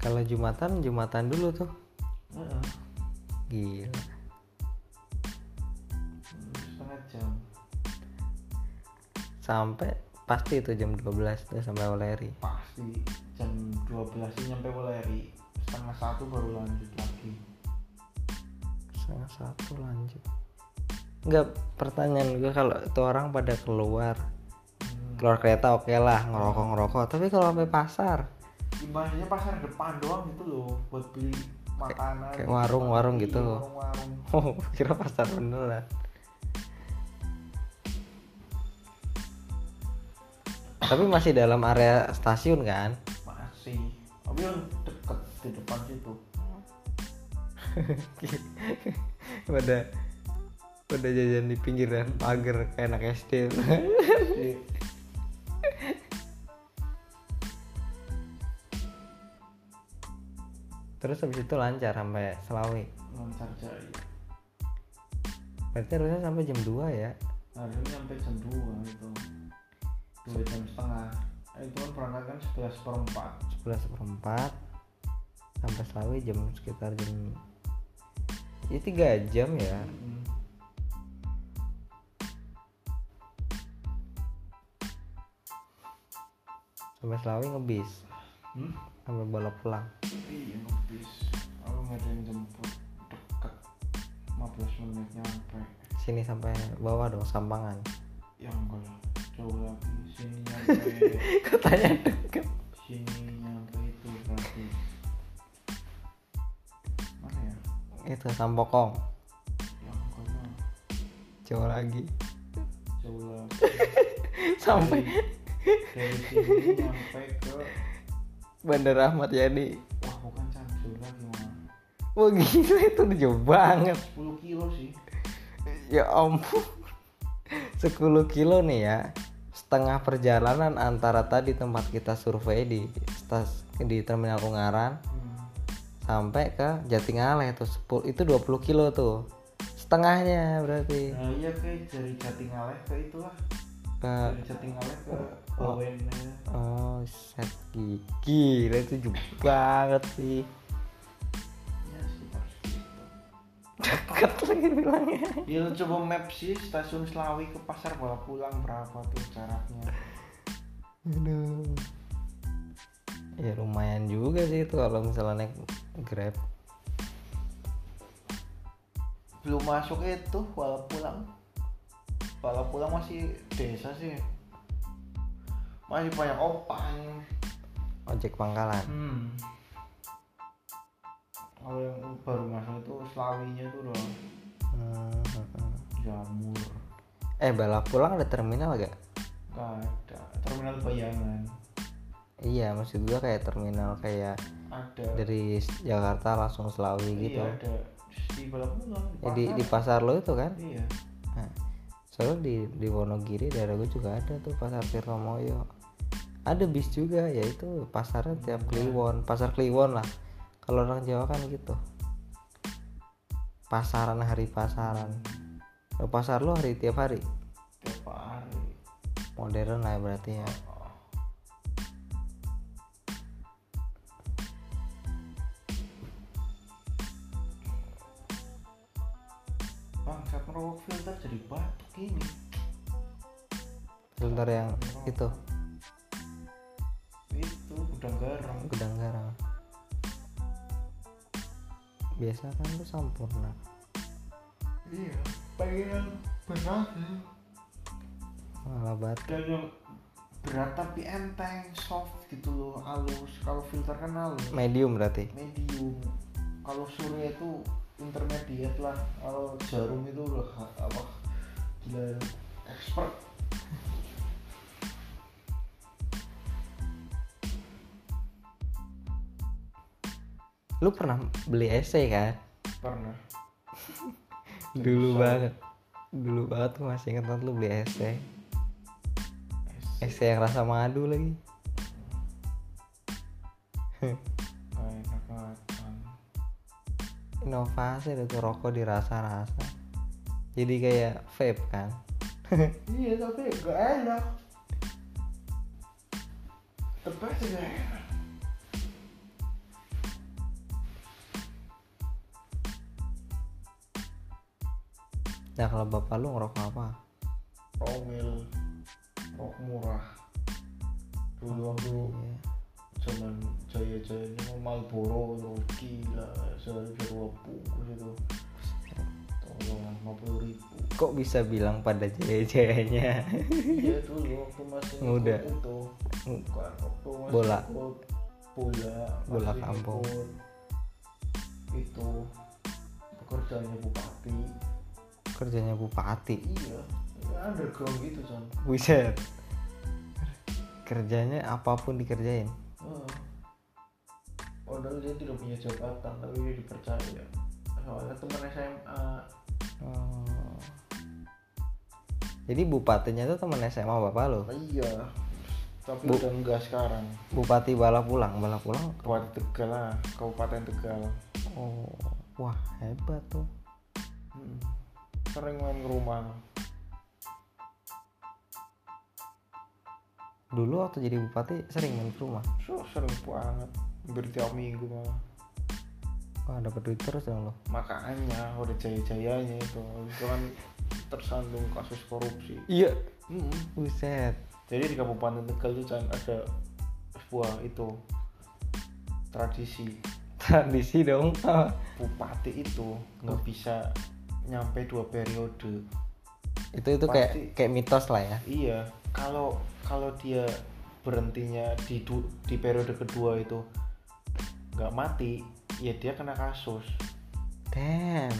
Kalau Jumatan, Jumatan dulu tuh. Heeh. Gila. setengah jam Sampai pasti itu jam 12 tuh sampai Oleri. pasti jam 12 sih nyampe Wuleri setengah satu baru lanjut lagi Setengah satu lanjut. Enggak, pertanyaan gue kalau itu orang pada keluar Hmm, keluar kereta oke lah ngerokok ngerokok tapi kalau sampai pasar ibaratnya pasar depan doang gitu loh buat beli makanan kayak warung-warung Iya, gitu. warung-warung oh kira pasar beneran tapi masih dalam area stasiun kan masih tapi yang deket di depan situ pada pada jajan di pinggiran pagar kayak anak SD Di- terus habis itu lancar sampai Selawi lancar jaya berarti harusnya sampai jam 2 ya harusnya nyampe jam 2 itu dua jam setengah Eh, itu kan berangkat kan sebelas perempat 11 seperempat sampai Selawi jam sekitar jam ya 3 jam ya Mm. sampai Selawi ngebis hmm? sampai bolak pulang iya ngebis aku nggak ada yang jemput deket 15 menit nyampe sini sampai bawah dong sampangan ya enggak lah jauh lagi sini nyampe katanya deket sini nyampe itu berarti mana ya itu sampokong yang kono jauh lagi jauh lagi sampai dari sini nyampe ke Bandar Ahmad Yani wah bukan Samsul lagi mah wah gila itu udah jauh banget 10 kilo sih ya ampun 10 kilo nih ya setengah perjalanan antara tadi tempat kita survei di stas di terminal Ungaran hmm. sampai ke Jatingaleh tuh 10 itu 20 kilo tuh setengahnya berarti nah iya kayak dari Jatingaleh ke itulah Ke- dari Jatingaleh ke Bawen ya. oh set gigi Gila, itu jauh banget sih ya sekitar segitu deket lagi bilangnya ya lu coba map sih stasiun Selawi ke pasar bawa pulang berapa tuh jaraknya aduh ya lumayan juga sih itu kalau misalnya naik grab belum masuk itu walau pulang walau pulang masih desa sih masih banyak opang ojek pangkalan hmm. kalau yang baru masuk itu selawinya tuh udah Hmm, hmm, hmm. jamur eh balap pulang ada terminal gak nggak ada terminal bayangan iya maksud gua kayak terminal kayak ada dari Jakarta langsung Selawi gitu iya ada di balap pulang di jadi di pasar. pasar lo itu kan iya Nah, soalnya di di Wonogiri daerah gue juga ada tuh pasar Tirtomoyo. Ada bis juga ya itu pasarnya tiap Kliwon, pasar Kliwon lah. Kalau orang Jawa kan gitu. Pasaran hari pasaran. Kalau pasar lo hari tiap hari. tiap hari Modern lah ya berarti ya. Oh. Bangsat merokok filter jadi batuk ini. Sebentar yang itu Itu udah garam. gudang garam. Biasa kan lu sempurna. Iya. Pengen yang berat ya. Malah batu. Dan yang berat tapi enteng, soft gitu loh, halus. Kalau filter kan halus. Medium berarti. medium kalau surya itu intermediate lah kalau jarum itu udah ha- apa gila expert Lu pernah beli esai kan? pernah dulu Besar. banget dulu banget tuh masih inget banget lu beli es teh es teh yang rasa madu lagi Gak enak macan inovasi ada tuh rokok dirasa-rasa jadi kayak vape kan iya tapi gak enak tebas gak enak nah kalau bapak lu ngerokok apa Romil rok murah dulu waktu Iya. zaman jaya jayanya Malboro itu gila sehari bisa dua bungkus itu tolong lima puluh ribu kok bisa bilang pada jaya-jayanya iya dulu waktu masih Muda. ikut itu bukan waktu masih Bola. ikut bola Bola masih kampung. ikut itu pekerjaannya bupati kerjanya bupati iya ya underground gitu kan Buset. Kerjanya apapun dikerjain. Oh. Padahal dia tidak punya jabatan tapi dia dipercaya. Soalnya teman SMA Oh. Jadi bupatinya tuh teman SMA bapak lo. iya. Tapi Bu- udah enggak sekarang. Bupati bala pulang, bala pulang. Kabupaten Tegal lah, Kabupaten Tegal. Oh, wah hebat tuh. Sering main ke rumah. Dulu waktu jadi bupati sering main ke rumah. So, sering banget. Hampir tiap minggu malah. Wah dapat duit terus dong lo. Makanya udah jaya-jayanya itu. Habis itu kan tersandung kasus korupsi. Iya. Mm-mm. Buset. Jadi di Kabupaten Tegal itu kan ada sebuah itu tradisi Tradisi dong. bupati itu nggak bisa nyampe dua periode itu itu Pasti. kayak kayak mitos lah ya. iya kalau kalau dia berhentinya di du- di periode kedua itu nggak mati ya dia kena kasus Damn.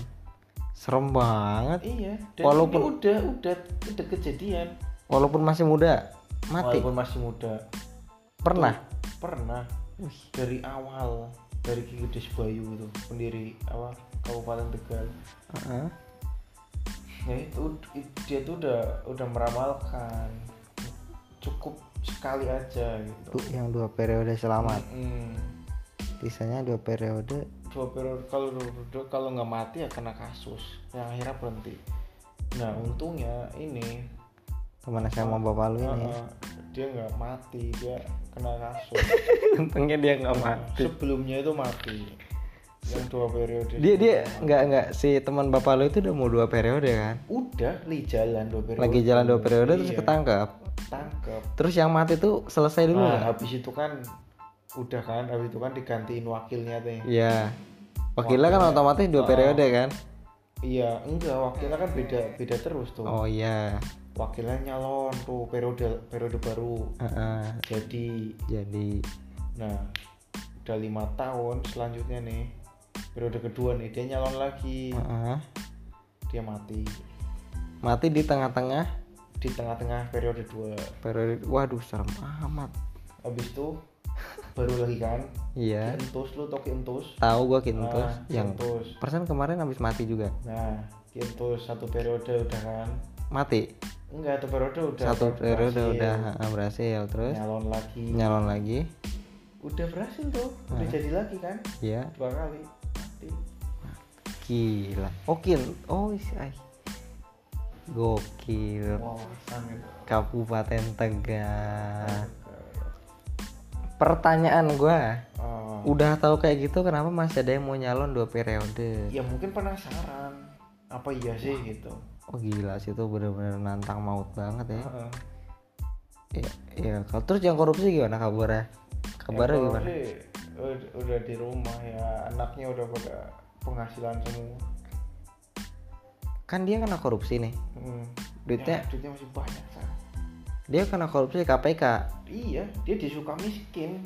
Serem banget. iya dan Walaupun- ini udah udah udah kejadian Walaupun masih muda, mati. walaupun masih muda Pernah. pernah dari awal dari Ki Gedes Bayu itu pendiri apa Kabupaten Tegal Heeh. ya itu dia tuh udah udah meramalkan cukup sekali aja gitu Du- yang dua periode selamat Mm-mm. sisanya dua periode dua periode kalau dua- kalau nggak mati ya kena kasus yang akhirnya berhenti nah untungnya ini teman saya sama bapak lu ini uh-uh, dia nggak mati dia kena kasus oh. untungnya dia nggak mati sebelumnya itu mati yang dua periode dia dia nggak nggak si teman bapak lu itu udah mau dua periode kan udah li jalan dua periode lagi jalan dua periode terus Iya, ketangkap tangkep terus yang mati tuh selesai dulu nah, nggak habis itu kan udah kan habis itu kan digantiin wakilnya teh Iya wakilnya kan otomatis dua periode kan iya enggak wakilnya kan beda beda terus tuh oh iya wakilnya nyalon tuh periode periode baru Heeh. jadi jadi nah udah lima tahun selanjutnya nih periode kedua nih dia nyalon lagi heeh. dia mati mati di tengah-tengah di tengah-tengah periode dua periode waduh serem amat habis itu baru lagi kan iya entus lu tau entus tahu gua kintus yang entus persen kemarin habis mati juga nah entus satu periode udah kan mati enggak satu periode udah satu periode berhasil. udah ah, berhasil terus nyalon lagi nyalon lagi udah berhasil tuh udah jadi lagi kan ya dua kali mati gila oke oh isi- ay. gokil wow sangat Kabupaten Tegal pertanyaan gua Ah, udah tahu kayak gitu kenapa masih ada yang mau nyalon dua periode ya mungkin penasaran apa iya sih gitu oh gila sih itu bener-bener nantang maut banget ya Heeh. ya, ya. kalau terus yang korupsi gimana kabarnya kabarnya Kalau gimana sih, ud- udah di rumah ya anaknya udah pada penghasilan semua kan dia kena korupsi nih Hmm. Duitnya- Ya, duitnya masih banyak San. dia kena korupsi KPK iya dia disuka miskin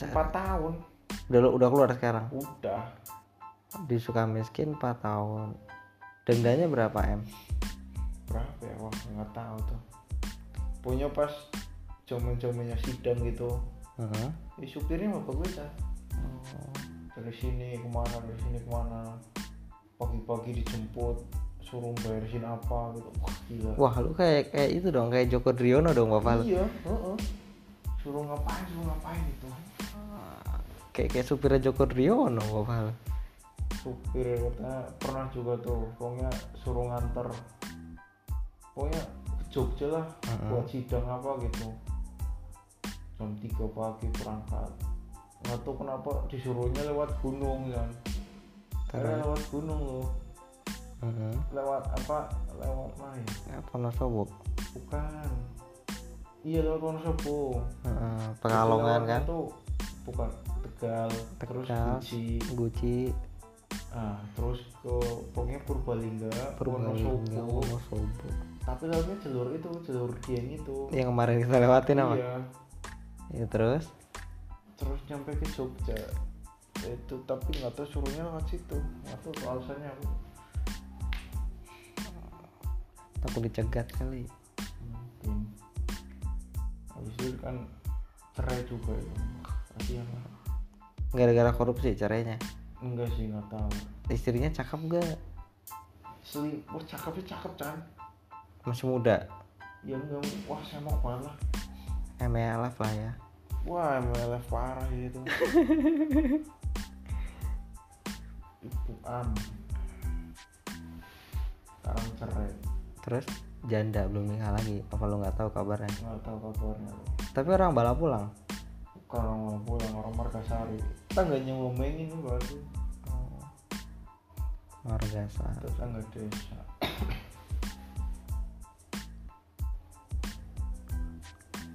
empat tahun udah udah keluar sekarang udah di Sukamiskin 4 tahun dendanya berapa m berapa ya wah nggak tahu tuh punya pas zaman zamannya sidang gitu Heeh. ya, supirnya mau bagus San. dari sini kemana dari sini kemana pagi-pagi dijemput suruh bayarin apa gitu wah gila wah lu kayak kayak itu dong kayak Joko Driono dong bapak lu iya heeh. suruh ngapain suruh ngapain gitu kayak kayak supirnya Joko Driono bapak lu supir katanya pernah juga tuh pokoknya suruh nganter pokoknya ke Jogja lah Hmm. buat sidang apa gitu jam 3 pagi berangkat nggak tahu kenapa disuruhnya lewat gunung kan Terus? karena lewat gunung loh Heeh. lewat apa lewat mana ya? Ya, Wonosobo. bukan iya lewat Wonosobo Heeh, Iya, Pekalongan kan. itu bukan tegal, terus Tegal. Guci Guci, ah terus ke pokoknya Purbalingga Purbalingga, Wonosobo Wonosobo. tapi lewatnya jalur itu jalur Dieng itu Yang kemarin kita lewatin Iya, apa? iya Ya terus terus nyampe ke Jogja itu tapi nggak tahu suruhnya lewat situ nggak tahu alasannya apa takut dicegat kali. mungkin habis itu kan cerai juga itu kasihan lah Gara-gara korupsi caranya. enggak sih nggak tahu Istrinya cakep gak? Seli, wah cakepnya cakep kan Masih muda. ya enggak wah saya mau kemana MLF lah ya. wah MLF parah ya itu ibu am sekarang cerai Terus janda belum nikah lagi. Apa lu nggak tahu kabarnya? nggak tahu kabarnya loh Tapi orang bala pulang. kalau nggak pulang orang Markasari tangganya ngomongin baru Margasa. Oh, tetangga desa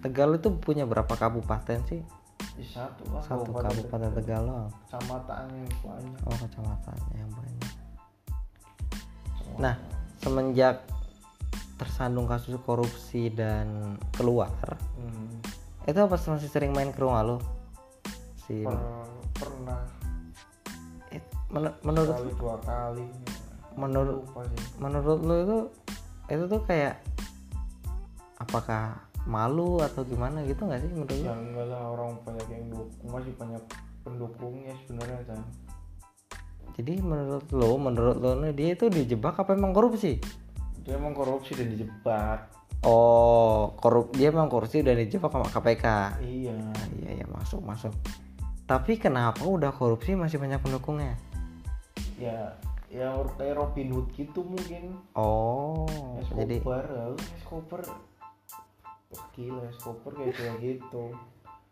Tegal itu punya berapa kabupaten sih? di satu lah Satu kabupaten Tegal loh. kecamatan yang banyak Oh kecamatan yang banyak. Kecamatan. Nah semenjak tersandung kasus korupsi dan keluar, hmm, itu apa masih sering main ke rumah lo? Si per- pernah Eh, men- menurut kali dua kali menurut lupa sih menurut lo itu itu tuh kayak apakah malu atau gimana gitu nggak sih menurut lo? ya enggak lah orang banyak yang dukung masih banyak pendukungnya sebenarnya kan Jadi menurut lo, menurut lo nih, dia itu dijebak apa emang korupsi? dia emang korupsi dan dijebak Oh, korup dia emang korupsi udah dijebak sama KPK. iya Ah, iya ya masuk masuk. Tapi kenapa udah korupsi masih banyak pendukungnya? ya ya kayak Robin Hood gitu mungkin Oh, jadi Escobar lalu Escobar Wah, gila Escobar kayak kayak gitu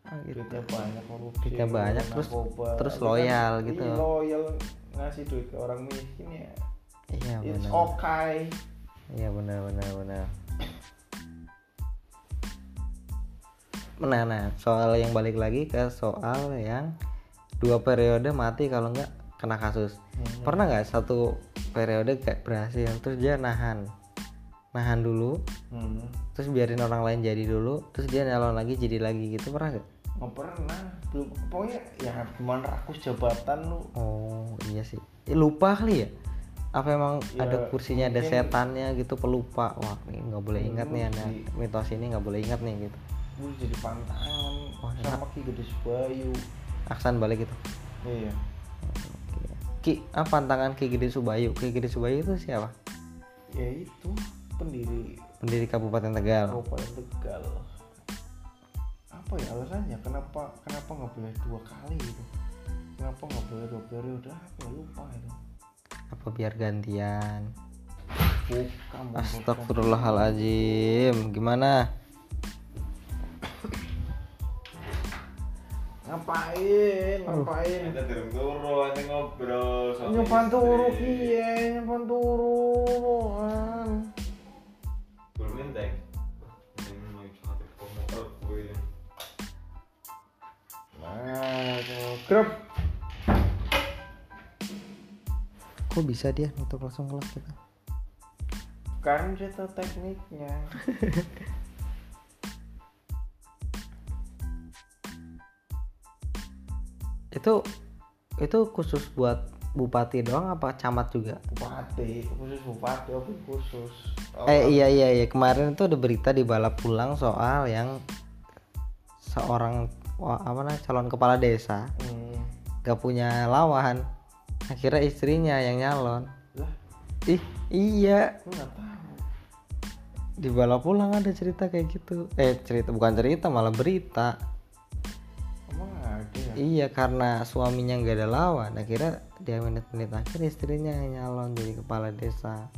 ah, gitu. duitnya banyak korupsi Duitnya banyak, terus- narkoba. terus Tapi loyal kan, gitu. iya, loyal ngasih duit ke orang miskin ya Iya it's benar. okay Iya benar benar benar. Nah, nah, soal yang balik lagi ke soal yang dua periode mati kalau nggak kena kasus. Hmm. Pernah nggak satu periode kayak berhasil terus dia nahan, nahan dulu, hmm. terus biarin orang lain jadi dulu, terus dia nyalon lagi jadi lagi gitu pernah nggak? nggak pernah belum pokoknya ya gimana rakus jabatan lu Oh iya sih, Eh, lupa kali ya. Apa emang Ya, ada kursinya ada mungkin- setannya gitu pelupa? Wah ini nggak boleh ingat nih, Mungkin ada mitos ini nggak boleh ingat nih gitu. lu jadi pantangan Wah, sama ki gede sebayu Aksan balik gitu. iya Ki, apa pantangan Ki Gede Subayu? Ki Gede Subayu itu siapa? ya itu pendiri Pendiri Kabupaten Tegal. Kabupaten Tegal apa ya alasannya kenapa kenapa nggak boleh dua kali gitu kenapa nggak boleh dua periode apa ya lupa itu Apa biar gantian? bukan bukan. Astagfirullahaladzim. Gimana? ngapain ngapain Kita turun turu nanti ngobrol soal nyopan istri. turu iya nyopan turu Loan. Belum nenteng. Nenteng mau curhat ke komuter gue ini. nah tuh. grep Kok bisa dia nutup langsung kelas gitu? kita? kan cerita tekniknya Itu itu khusus buat bupati doang apa camat juga? bupati khusus bupati oke khusus Oh, Eh iya iya iya kemarin itu ada berita di balap pulang soal yang seorang wah, apa namanya calon kepala desa hmm. gak punya lawan akhirnya istrinya yang nyalon lah ih iya gue nggak tahu di balap pulang ada cerita kayak gitu eh cerita bukan cerita malah berita emang ada ya iya karena suaminya nggak ada lawan akhirnya dia menit-menit akhir istrinya yang nyalon jadi kepala desa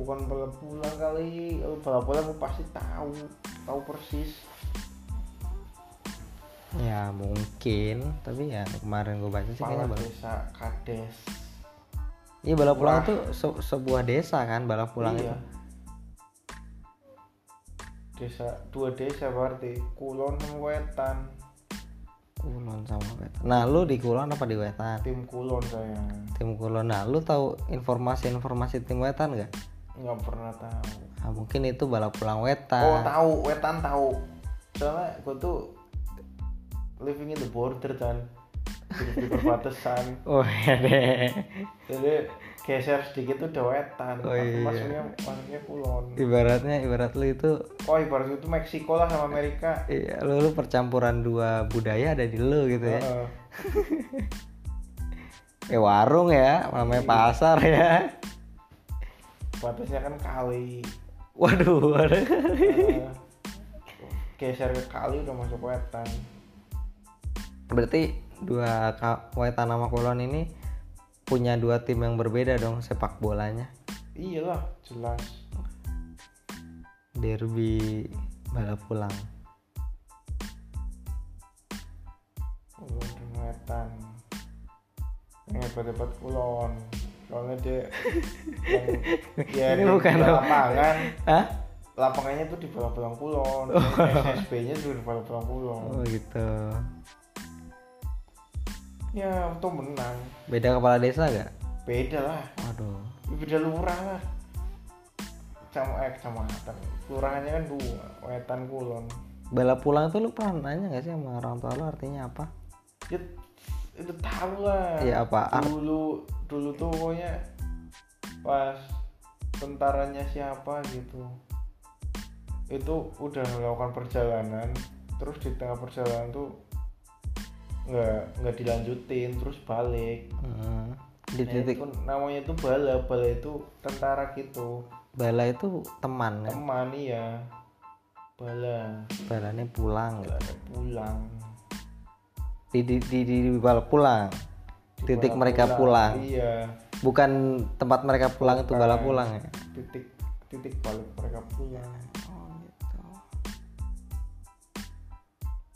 bukan balap pulang kali Kalau balap pulang gue pasti tahu tahu persis ya mungkin tapi ya kemarin gue baca sih kepala kayaknya baru desa kades Iya balap pulang Murah. tuh se- sebuah desa kan balap pulang itu. Iya. desa dua desa berarti kulon sama wetan Kulon sama Wetan. Nah lu di Kulon apa di Wetan? tim kulon saya Tim Kulon. Nah lu tahu informasi-informasi tim Wetan gak? nggak pernah tahu Nah, mungkin itu balap pulang oh Wetan. tahu wetan tahu soalnya gue tuh living in the border kan hidup di perbatasan Oh, iya deh. jadi geser sedikit tuh udah wetan Oh, iya. maksudnya maksudnya kulon Ibaratnya ibarat lu itu oh ibarat itu Meksiko lah sama Amerika iya, lu, lu percampuran dua budaya ada di lu gitu ya. Heeh. Eh warung ya, namanya pasar ya. batasnya kan kali Waduh, waduh. Heeh. geser ke kali udah masuk wetan Berarti dua Ka- Wetan sama Kulon ini punya dua tim yang berbeda dong sepak bolanya. iyalah jelas Derby balap pulang. kulon dan wetan yang hebat-hebat kulon soalnya dia yang, Ini ya, bukan di lo. lapangan Hah? lapangannya tuh di bola-bola kulon SSB nya tuh di bola-bola kulon Oh gitu. ya tuh menang Beda kepala desa gak? beda lah Waduh. beda lurah lah sama eh kecamatan kelurahannya kan dua wetan kulon Balap pulang tuh lu pernah nanya gak sih sama orang tua lu artinya apa? ya itu tahu lah Iya, apaan? dulu dulu tuh pokoknya pas tentaranya siapa gitu itu udah melakukan perjalanan terus di tengah perjalanan tuh nggak nggak dilanjutin terus balik Hmm. Di Nah, titik itu namanya tuh bala bala itu tentara gitu bala itu teman kan? teman ya bala Balanya pulang gitu. bala pulang Di di di, di, di balap pulang. Di Titik bala mereka pulang. iya Bukan tempat mereka pulang itu balap pulang ya. titik titik balik mereka pulang Oh gitu.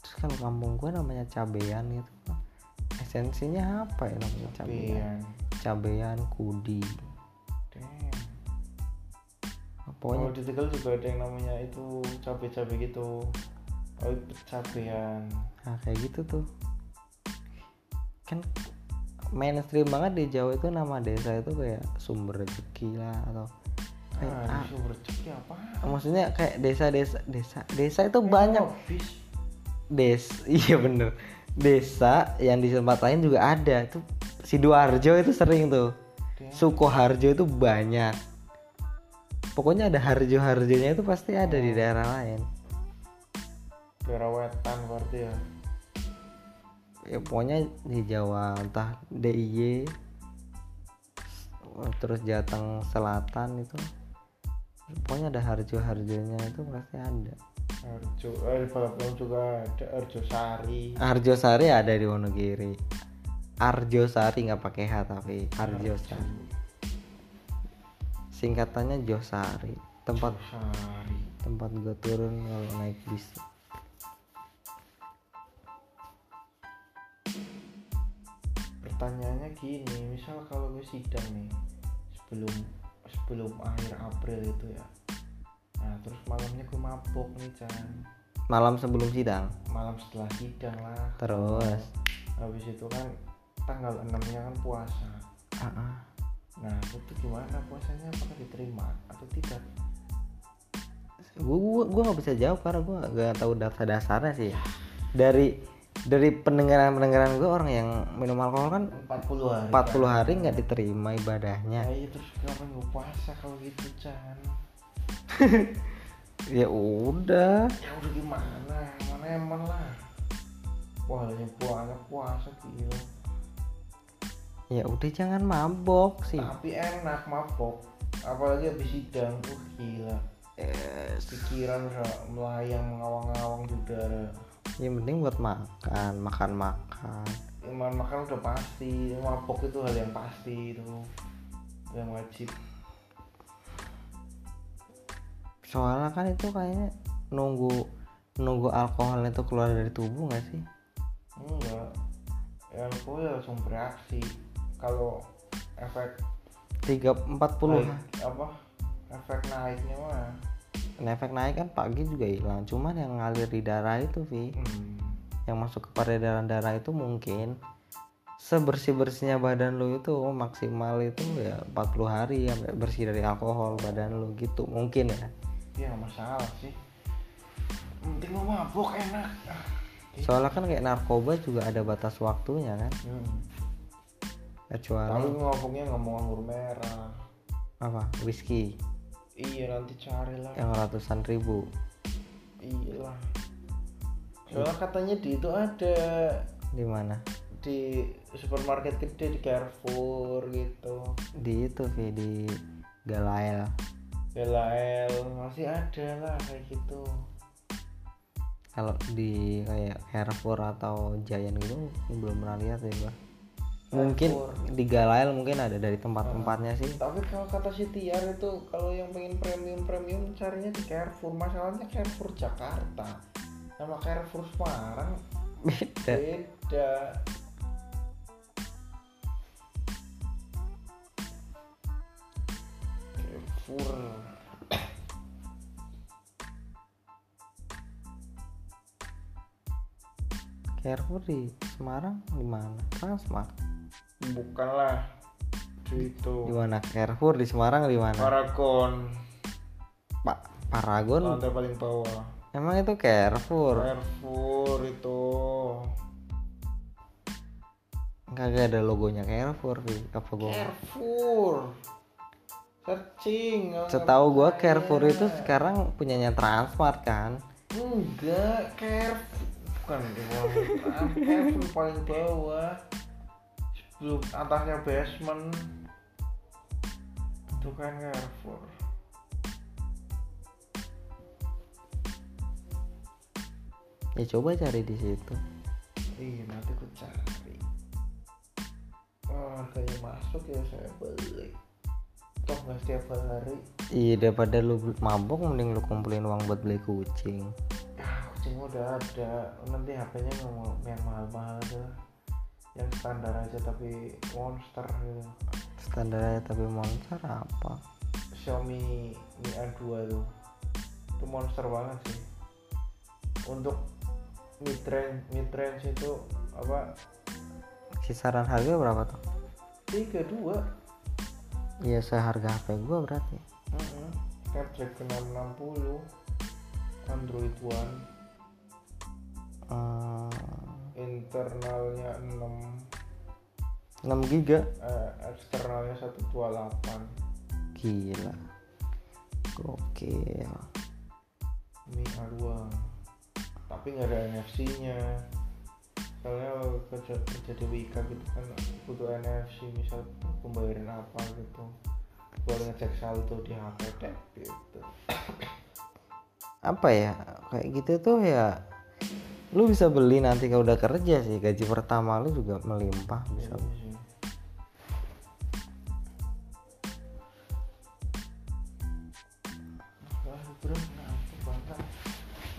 Terus kalau kampung gue namanya cabean gitu. Esensinya apa ya namanya cabean? Pian. Cabean kudi. Damn. Pokoknya Kalau di Tegal juga ada yang namanya itu cabe-cabe gitu. Oh, itu cabean. Nah kayak gitu tuh Kan mainstream banget di Jawa itu nama desa itu kayak sumber rezeki lah atau kayak ah, Ah, itu rezeki apa? maksudnya kayak desa-desa desa desa itu Oh. banyak Eh, Habis. des iya bener desa yang di tempat lain juga ada tuh sidoarjo itu sering tuh Damn. sukoharjo itu banyak pokoknya ada harjo harjonya itu pasti ada di daerah lain Daerah wetan berarti ya. ya pokoknya di Jawa entah DIY terus Jateng Selatan itu pokoknya ada harjo harjonya itu pasti ada Arjo, eh, Balapan juga ada Arjo Sari. Arjo Sari ada di Wonogiri Arjo Sari nggak pakai H tapi Arjo Sari singkatannya Josari tempat Sari. tempat gue turun kalau naik bis Pertanyaannya gini, misal kalau gue sidang nih sebelum sebelum akhir April itu ya. Nah, terus malamnya gue mabok nih, Chan. malam sebelum sidang Malam setelah sidang lah. terus habis itu kan tanggal 6 nya kan puasa ah, ah. nah itu gimana puasanya apakah diterima atau tidak gue gua gua nggak bisa jawab karena gue nggak tahu dasar dasarnya sih dari dari pendengaran pendengaran gue orang yang minum alkohol kan 40 hari 40 hari kan? nggak diterima Nah, ibadahnya iya terus kenapa nggak puasa kalau gitu Chan ya udah ya udah gimana mana emang lah wah yang puasa puasa gila ya udah jangan mabok sih tapi enak mabok apalagi habis sidang wah gila Eh, pikiran udah melayang mengawang-awang di udara yang penting buat makan makan makan Iman makan kan udah pasti, mabok itu hal yang pasti itu yang wajib. soalnya kan itu kayaknya nunggu nunggu alkohol itu keluar dari tubuh nggak sih Enggak, ya aku ya langsung bereaksi. Kalau efek tiga empat puluh Naik, apa efek naiknya mah efek naik kan pagi juga hilang cuman yang ngalir di darah itu Vi hmm, yang masuk ke peredaran darah itu mungkin sebersih bersihnya badan lu itu maksimal itu ya 40 hari ya bersih dari alkohol badan lu gitu mungkin ya ya nggak masalah sih penting lu mabuk enak soalnya kan kayak narkoba juga ada batas waktunya kan hmm. kecuali Lalu ngomongnya ngomong anggur merah apa whisky iya nanti carilah yang ratusan ribu iya lah soalnya katanya di itu ada di mana di supermarket gede di Carrefour gitu di itu Vi di Galael Belael masih ada lah kayak gitu kalau di kayak Carrefour atau Giant gitu belum pernah lihat ya gua mungkin Carrefour. di Galael mungkin ada dari tempat-tempatnya sih tapi kalau kata si Tiar itu kalau yang pengen premium premium carinya di Carrefour masalahnya Carrefour Jakarta sama Carrefour Semarang beda beda Carrefour Carrefour di Semarang di mana Transmart bukanlah di itu mana Carrefour di Semarang di mana Paragon Pak Paragon lantai paling bawah emang itu Carrefour Carrefour itu kagak ada logonya Carrefour di apa gua Carrefour searching nggak setahu gua percaya. Carrefour itu sekarang punyanya Transmart kan enggak Carrefour bukan di bawah Ah, Carrefour paling bawah sebelum atasnya basement itu kan Carrefour ya coba cari di situ iya nanti ku cari oh harganya masuk ya saya beli toh nggak setiap hari Iya daripada lu mabok mending lu kumpulin uang buat beli kucing. Ah, kucing udah ada nanti HP-nya nggak mau yang mahal-mahal aja lah. yang standar aja tapi monster gitu Standarnya tapi monster apa? Xiaomi Mi A2 tuh itu monster banget sih untuk mid range mid range itu apa Kisaran harga berapa tuh? tiga dua Iya seharga HP gua berarti. Snapdragon 660 Android One Hmm, internalnya 6 6 giga. eh, eksternalnya 128 Gila. Gokil. Mi A2 tapi nggak ada NFC nya soalnya kalau kerja kerja di Wika gitu kan butuh NFC misal pembayaran apa gitu boleh ngecek saldo di HP deh gitu Apa ya? Kayak gitu tuh ya lu bisa beli nanti kalau udah kerja sih gaji pertama lu juga melimpah bisa Iya sih. Wah, bro, kenapa banget?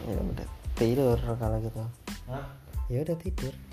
ya udah tidur kalau gitu Hah? ya udah tidur